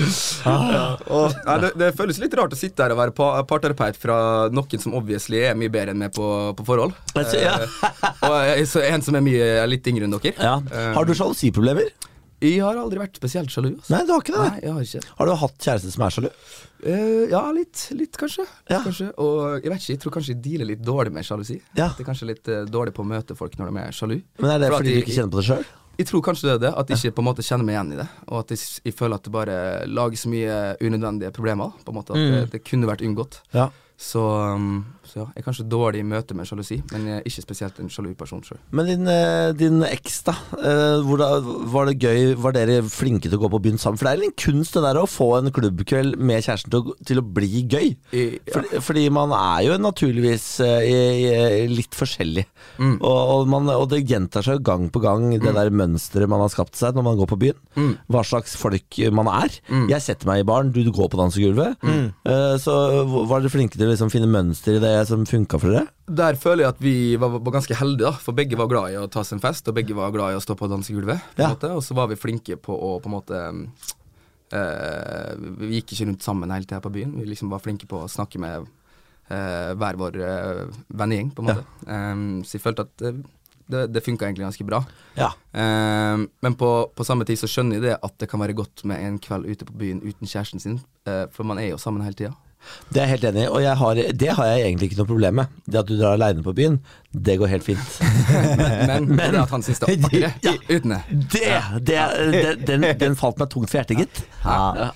Og, nei, det, det føles litt rart å sitte her og være pa- parterapeut fra noen som obviously er mye bedre enn meg på, på
(laughs)
forhold.
Jeg tror- ja.
Eh, og jeg- så en som er mye er litt yngre enn dere.
Ja.
Eh,
Har du sjalusiproblemer?
Jeg har aldri vært spesielt sjalu. Altså.
Nei, du har ikke det.
Nei, jeg har ikke.
Har du hatt kjæreste som er sjalu?
Eh, ja, litt, litt kanskje.
Ja.
kanskje. Og jeg vet ikke, jeg tror kanskje jeg dealer litt dårlig med sjalusi.
Ja.
Det er kanskje litt eh, dårlig på å møte folk når de er sjalu.
Men er det
For at
fordi du
jeg-
ikke kjenner på det sjøl?
Jeg tror kanskje det er det, at jeg ikke på en måte kjenner meg igjen i det. Og at jeg, s- jeg føler at det bare lager så mye unødvendige problemer. På en måte At det, det kunne vært unngått.
Ja.
Så, um, så ja, jeg er kanskje dårlig i møte med sjalusi, men jeg er ikke spesielt en sjalu person sjøl.
Men din, eh, din eks, da. eh, hvordan- var det gøy? Var dere flinke til å gå på byen sammen? For det er litt en kunst det der å få en klubbkveld med kjæresten til å, til å bli gøy.
Ja.
Fordi, fordi man er jo naturligvis eh, i- i- litt forskjellig. Og, og, man, og det gjentar seg jo gang på gang, det der mønsteret man har skapt seg når man går på byen. Hva slags folk eh, man er. Jeg setter meg i baren, du går på dansegulvet. Eh, så hva- var dere flinke til å liksom finne mønster i det som funka for dere?
Der føler jeg at vi var, var ganske heldige, da, for begge var glad i å ta seg en fest, og begge var glad i å stå på dansegulvet. På en
Ja.
måte, og så var vi flinke på å på en måte um, eh, Vi gikk ikke rundt sammen hele tida på byen. Vi liksom var flinke på å snakke med eh, hver vår eh, vennegjeng, på en måte. Um, så jeg følte at eh, det, det funka egentlig ganske bra.
Ja.
Ehm, men på, på samme tid så skjønner jeg det at det kan være godt med en kveld ute på byen uten kjæresten sin, eh, for man er jo sammen hele tida.
Det er jeg helt enig i, og jeg har, det har jeg egentlig ikke noe problem med. Det at du drar aleine på byen, det går helt fint.
Men,
(laughs)
men det at han syns det er vakkert
Ja.
uten det
(laughs) Det, det, det, den, den falt meg tungt for hjertet, gitt.
Ja.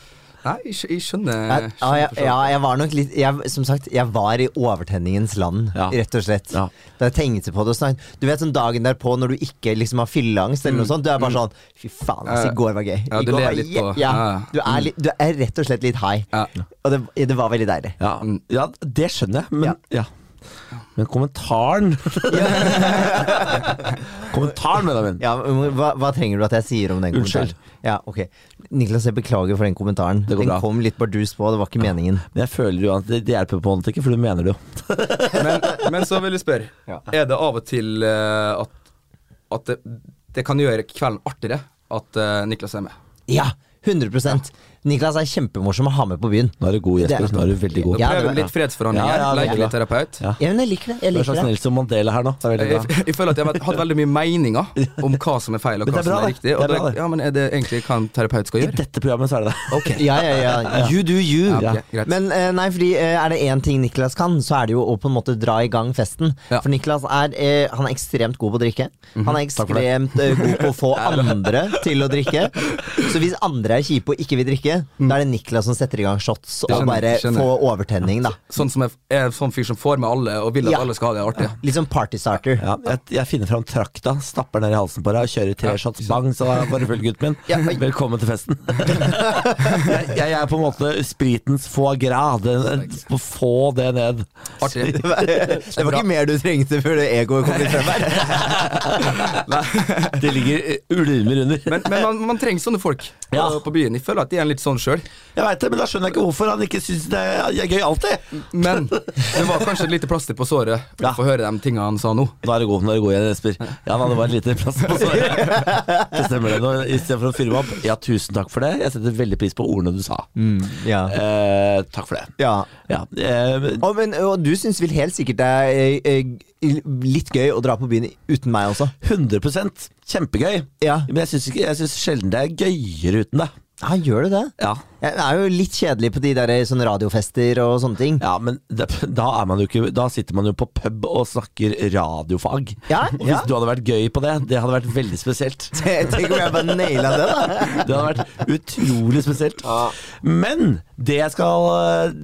Nei, jeg, skj- jeg skjønner,
Ja,
skjønner
ja,
for så vidt.
ja, jeg var nok litt jeg, Som sagt, jeg var i overtenningens land,
Ja.
rett og slett.
Ja.
Da jeg tenkte på det og snakket Du vet sånn dagen derpå når du ikke liksom har fylleangst eller noe sånt. Du er bare sånn Fy faen, altså, i går var gøy.
Ja,
I
du
går
ler
var
litt
je-
på-
ja,
ja, ja.
du, er litt, du er rett og slett litt high.
Ja.
Og det, det var veldig deilig.
Ja, ja det skjønner jeg, men, ja. men kommentaren (laughs) Kommentaren, Benjamin.
Ja, men hva, hva trenger du at jeg sier om den
Unnskyld.
kommentaren? Ja, ok Niklas, jeg beklager for den kommentaren.
går
Den
bra.
kom litt bardust på, det var ikke meningen.
Men jeg føler jo at det, det hjelper på en måte ikke, for du mener det jo.
(laughs) Men, men så vil jeg spørre,
Ja.
er det av og til eh, at, at det, det kan gjøre kvelden artigere at eh, Niklas er med?
Ja, 100 Niklas er kjempemorsom å ha med på byen.
Nå er du god, Jesper.
Det er-
Nå er du veldig god.
Ja, det
Prøver
var-
litt fredsforhandlinger,
Ja, ja,
leker
veldig.
litt terapeut.
Ja.
Ja, men jeg liker det. Jeg
Du er
liker
slags
det.
Nelson Mandela her nå. Det er veldig
Jeg,
bra.
jeg, jeg føler at jeg har hatt veldig mye meninger om hva som er feil og
Men
hva
det er bra,
som er
det.
riktig. Og
Det er
da,
bra, det.
ja, men er det egentlig hva en terapeut skal
I
gjøre?
dette programmet så er det det. (laughs)
Ja, ja, ja. You do you.
Ja, ok,
Ja.
greit.
Men eh, nei, fordi eh, er det én ting Niklas kan, så er det jo å på en måte dra i gang festen.
Ja. Mhm.
For Niklas er, eh, han er ekstremt god på å drikke. Han er ekstremt eh, god på å
(laughs)
få andre til å drikke. Så hvis andre er kjipe og ikke vil drikke, da er det Niklas som setter i gang shots og
Mhm. Skjønner,
bare
skjønner.
få overtenning, da.
sånn som jeg er en sånn fyr som får med alle og vil at
Ja.
alle skal ha det artig.
Litt som party starter.
Ja, jeg, jeg finner fram trakta, stapper den ned i halsen på deg og kjører tre shots. Bang, så da er det bare full gutten
Ja,
min.
oi.
Velkommen til festen. (laughs) jeg, jeg er på en måte spritens foie gras. Den- Få det ned.
Artig.
Det var ikke mer du trengte før det egoet kom litt frem her.
(laughs) Det ligger eh, ulmer under.
Men, men man, man trenger sånne folk
Ja.
på, på byen. Jeg føler at de er litt sånn sjøl.
Jeg veit det, men da skjønner jeg ikke hvorfor han ikke syns det er gøy alltid.
Men det var kanskje et lite plaster på såret for
Ja.
å få høre de tinga han sa nå.
Nå er det god, nå er det god igjen, Jesper. Ja da, det var en liten plass på såret. Det stemmer det. Nå, Istedenfor å fyre meg opp. Ja, tusen takk for det. Jeg setter veldig pris på ordene du sa.
(laughs) Ja.
Eh, takk for det.
Mm. ja.
Ja. Eh,
Og, men, og du syns vel helt sikkert det er eh, eh, litt gøy å dra på byen uten meg også?
100 kjempegøy.
Ja.
Men jeg syns ikke- jeg syns sjelden det er gøyere uten deg.
Ja, gjør du det?
Ja.
Jeg er jo litt kjedelig på de der eh, sånne radiofester og sånne ting.
Ja, men det, da, er man jo ikke, da sitter man jo på pub og snakker radiofag.
Ja,
og hvis
ja.
du hadde vært gøy på det, det hadde vært veldig spesielt.
Tenk om (laughs) jeg bare naila det, da.
Det hadde vært utrolig spesielt. Men det jeg skal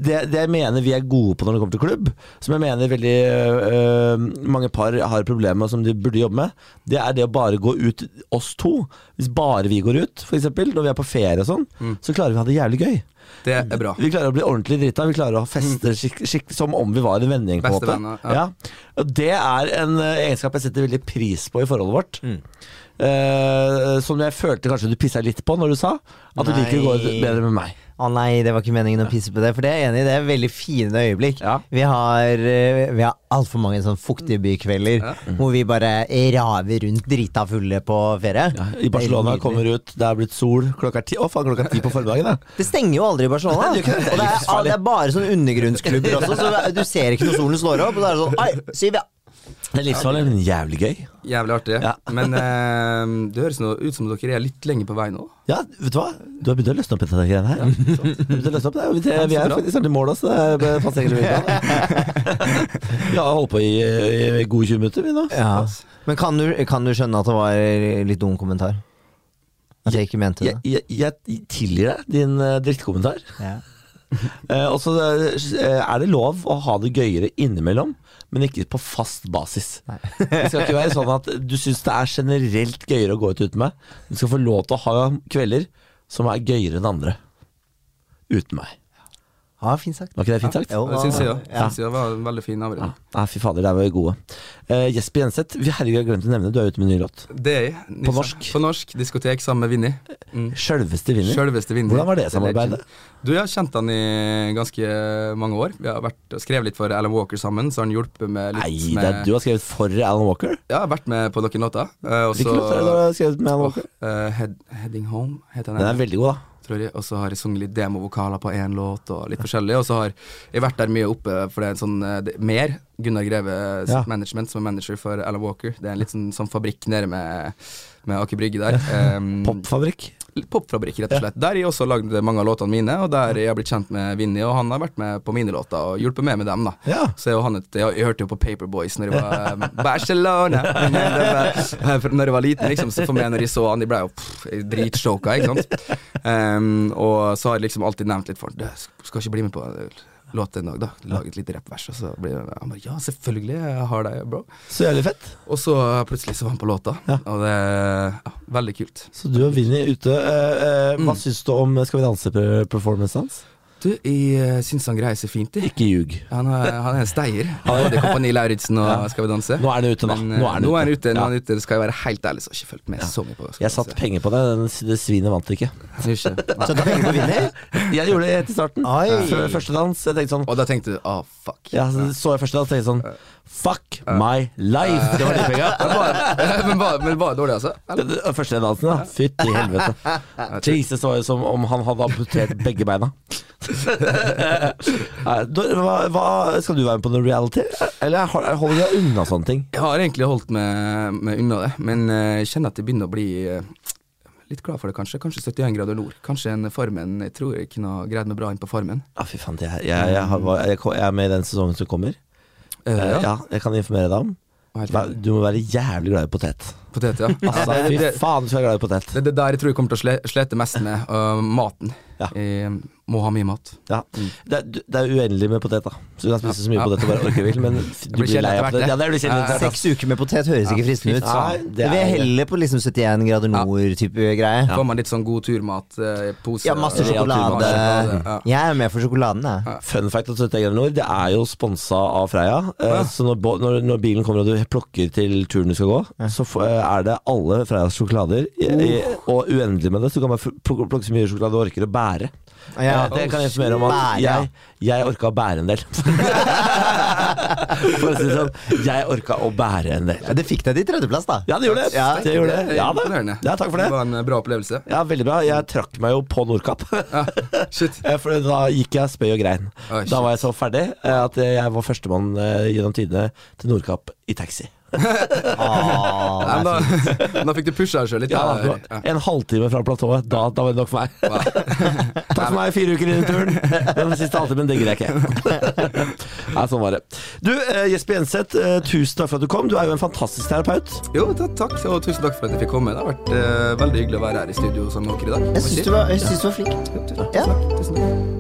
det, det jeg mener vi er gode på når det kommer til klubb, som jeg mener veldig øh, mange par har problemer med, som de burde jobbe med, det er det å bare gå ut oss to. Hvis bare vi går ut, f.eks. når vi er på ferie og sånn, så klarer vi å ha det jævlig gøy.
Det er bra.
Vi klarer å bli ordentlig drita. Vi klarer å
(laughs)
feste skikk, skikk, som om vi var en vennegjeng. på en
Beste
måte.
venner, ja.
ja. Og Det er en eh, egenskap jeg setter veldig pris på i forholdet vårt. Eh, som jeg følte kanskje du pissa litt på når du sa at du
Nei.
liker å gå ut bedre med meg.
Å nei, det var ikke meningen å pisse på det. For det er jeg enig i, det er veldig fine øyeblikk.
Ja.
Vi har, eh, vi har altfor mange sånne fuktige bykvelder hvor vi bare raver rundt drita fulle på ferie.
I Barcelona
Det er
kommer ut, det er blitt sol klokka er ti. Å faen, klokka er ti på formiddagen, da.
Det stenger jo aldri i Barcelona.
Det gjør ikke det. Det er
og det er,
livsfarlig.
det er bare sånne undergrunnsklubber også, så du ser ikke når solen slår opp. Og da er det sånn Ai, Siv, ja.
(laughs) Det er livsfarlig, men jævlig gøy.
Jævlig artig.
Ja.
Men eh, det høres nå ut som dere er litt lenge på vei nå.
Ja, vet du hva? Du har begynt å løsne opp etter de greiene her. Du har begynt å løsne opp det. Vi, vi er faktisk snart i mål, altså. Det passer egentlig (laughs) veldig bra. Vi har holdt på i, i gode 20 minutter, vi nå.
Ja. Men kan du, kan du skjønne at det var litt dum kommentar? At jeg ikke mente det?
Jeg, jeg, jeg tilgir deg din uh, drittkommentar.
Ja.
Eh, og så eh, er det lov å ha det gøyere innimellom, men ikke på fast basis. (laughs) det skal ikke være sånn at du syns det er generelt gøyere å gå ut uten meg. Du skal få lov til å ha kvelder som er gøyere enn andre. Uten meg.
Ja, fint sagt.
Var ikke det fint sagt?
Jo,
Det syns jeg
ja.
òg. Det var en veldig fin
Ja.
avrunding.
Nei, fy fader, der var vi gode. Eh, Jesper Jenseth, vi herregud, jeg har glemt å nevne, du er ute med en ny låt.
Det er jeg.
På norsk?
På norsk. Diskotek sammen med Vinni. Mm.
Sjølveste vinner.
Sjølveste Vinni.
Hvordan var det samarbeidet?
Du, Jeg har kjent han i ganske mange år. Vi har vært og skrevet litt for Alan Walker sammen, så har han hjulpet med litt
Nei, det
med
er, du har skrevet for Alan Walker?
Ja, jeg har vært med på noen låter. eh, og
Hvilke
så-
låter er det du har skrevet med Alan Walker?
Eh, head, Heading Home heter den.
Den er veldig god, da.
tror jeg. Og så har jeg sunget litt demovokaler på én låt, og litt forskjellig. Og så har jeg vært der mye oppe, for det er en sånn eh, det, mer Gunnar Greve sitt
Ja.
management, som er manager for Alan Walker. Det er en litt sånn, sånn fabrikk nede med, med Aker Brygge der. Em,
Popfabrikk.
litt Popfabrikk, rett og slett. Der har jeg også lagd mange av låtene mine, og der jeg har blitt kjent med Vinni, og han har vært med på mine låter og hjulpet meg med dem, da.
Ja.
Så er jo han et, jeg, jeg hørte jo på Paperboys når jeg var eh, Barcelona eh, Når jeg var liten, liksom, så for meg når jeg så han, de ble jo pff, dritshoka, ikke sant. Em, og så har jeg liksom alltid nevnt litt for ham. Skal ikke bli med på en låt en dag, da. Lage et lite rappvers. Og så blir han han bare Ja, selvfølgelig, jeg har deg, bro.
Så jævlig fett.
Og så plutselig så var han på låta, og det ja, Veldig kult.
Så du og Vinni ute. eh, eh, hva syns du om Skal vi danse-performancen hans?
Du, jeg eh, syns han greier seg fint, jeg.
Ikke ljug.
Han er, han er en steier. Både Kompani Lauritzen og Skal vi danse.
Nå er han ute, da.
Men eh,
Nå er han ute.
ute. Nå
Ja.
er han ute. Det skal jeg være helt ærlig, så har jeg ikke fulgt med så mye på Skal
Jeg
vi
satte (laughs)
danse.
penger på det, den s- det svinet vant ikke.
Ikke. Nei.
Så du penger på vinner?
(laughs) Jeg gjorde det helt i starten.
Oi.
Før første dans. Jeg tenkte sånn
Og da tenkte du ah, fuck.
ja, så så jeg første dans, tenkte jeg sånn Fuck my life! Det var de (laughs) penga.
(laughs) Men bare, men bare, men bare dårlig, altså? Eller?
Den første dansen, da. Fytti helvete. (laughs) Jesus var jo som om han hadde amputert begge (laughs) beina. Nei, da- hva, hva, skal du være med på noe reality, eller har- holder du deg unna sånne ting?
Jeg har egentlig holdt meg, meg unna det, men eh, jeg kjenner at jeg begynner å bli eh, litt glad for det, kanskje. Kanskje 71 grader nord. Kanskje en Farmen. Jeg tror jeg kunne ha greid meg bra inn på Farmen.
Ja, Ah, fy faen, jeg, jeg, jeg, har- jeg, jeg er med i den sesongen som kommer.
Eh,
Eh, ja, jeg kan informere deg om.
Og helt
Vær- Du må være jævlig glad i potet.
Potet, ja.
(laughs) Altså,
Ja,
fy
det,
faen, du skal være glad i potet.
det, det der jeg tror jeg kommer til å sle- slete mest med. øh, maten.
Ja.
Jeg må ha mye mat.
Ja. Det, er, du- det er uendelig med potet, da. Så du kan spise så mye
Ja.
potet du bare orker vil, men f- du
blir
blir
kjedelig
lei av
etter hvert,
potet.
det.
Ja, det blir kjedelig etter hvert. ass.
Seks uker med potet høres ikke fristende ut.
Nei,
så.
det
Vi
er-
er heller på liksom 71 grader nord-type greie.
Får man litt sånn god turmat eh, pose
Ja, masse
og-
sjokolade.
sjokolade, ja.
Jeg er med for sjokoladen, jeg.
Fun fact at 71 grader nord, det er jo sponsa av Freia. Eh, Så når, bo- når, når bilen kommer og du plukker til turen du skal gå, så f- eh, er det alle Freias sjokolader. I, i, og uendelig med det, så du kan bare f- plukke, plukke så mye sjokolade du orker å bære. Ja,
Ja.
det kan jeg informere om at
Bære, ja.
jeg, jeg orka å bære en del. For å si det sånn, jeg orka å bære en del.
Ja, Det fikk deg til tredjeplass, da.
Ja, det gjorde det.
Ja.
det, gjorde det. Ja, da.
Imponerende.
ja, takk for
Det
det.
var en eh, bra opplevelse.
Ja, Veldig bra. Jeg trakk meg jo på Nordkapp. (laughs)
Ja, shit.
Eh, For da gikk jeg spøy og grein.
Oi, shit.
Da var jeg så ferdig eh, at jeg var førstemann eh, gjennom tidene til Nordkapp i taxi.
Åh,
Nei, men (laughs) da, da fikk du pusha deg sjøl litt.
Ja,
da.
det var En halvtime fra platået. Da, da var det nok for meg. (laughs) Takk for meg, fire uker inn i turen. Den siste halvtimen digger jeg ikke. (laughs) Nei, sånn var det. Du, eh, Jesper Jenseth, eh, tusen takk for at du kom. Du er jo en fantastisk terapeut.
Jo, ta- takk, og tusen takk for at jeg fikk komme. Det har
Ah,
vært eh, veldig hyggelig å være her i studio sammen med dere i dag.
Jeg syns du var, jeg synes du var flink.
Jo, tusen,
Ja.
tusen takk, tusen takk.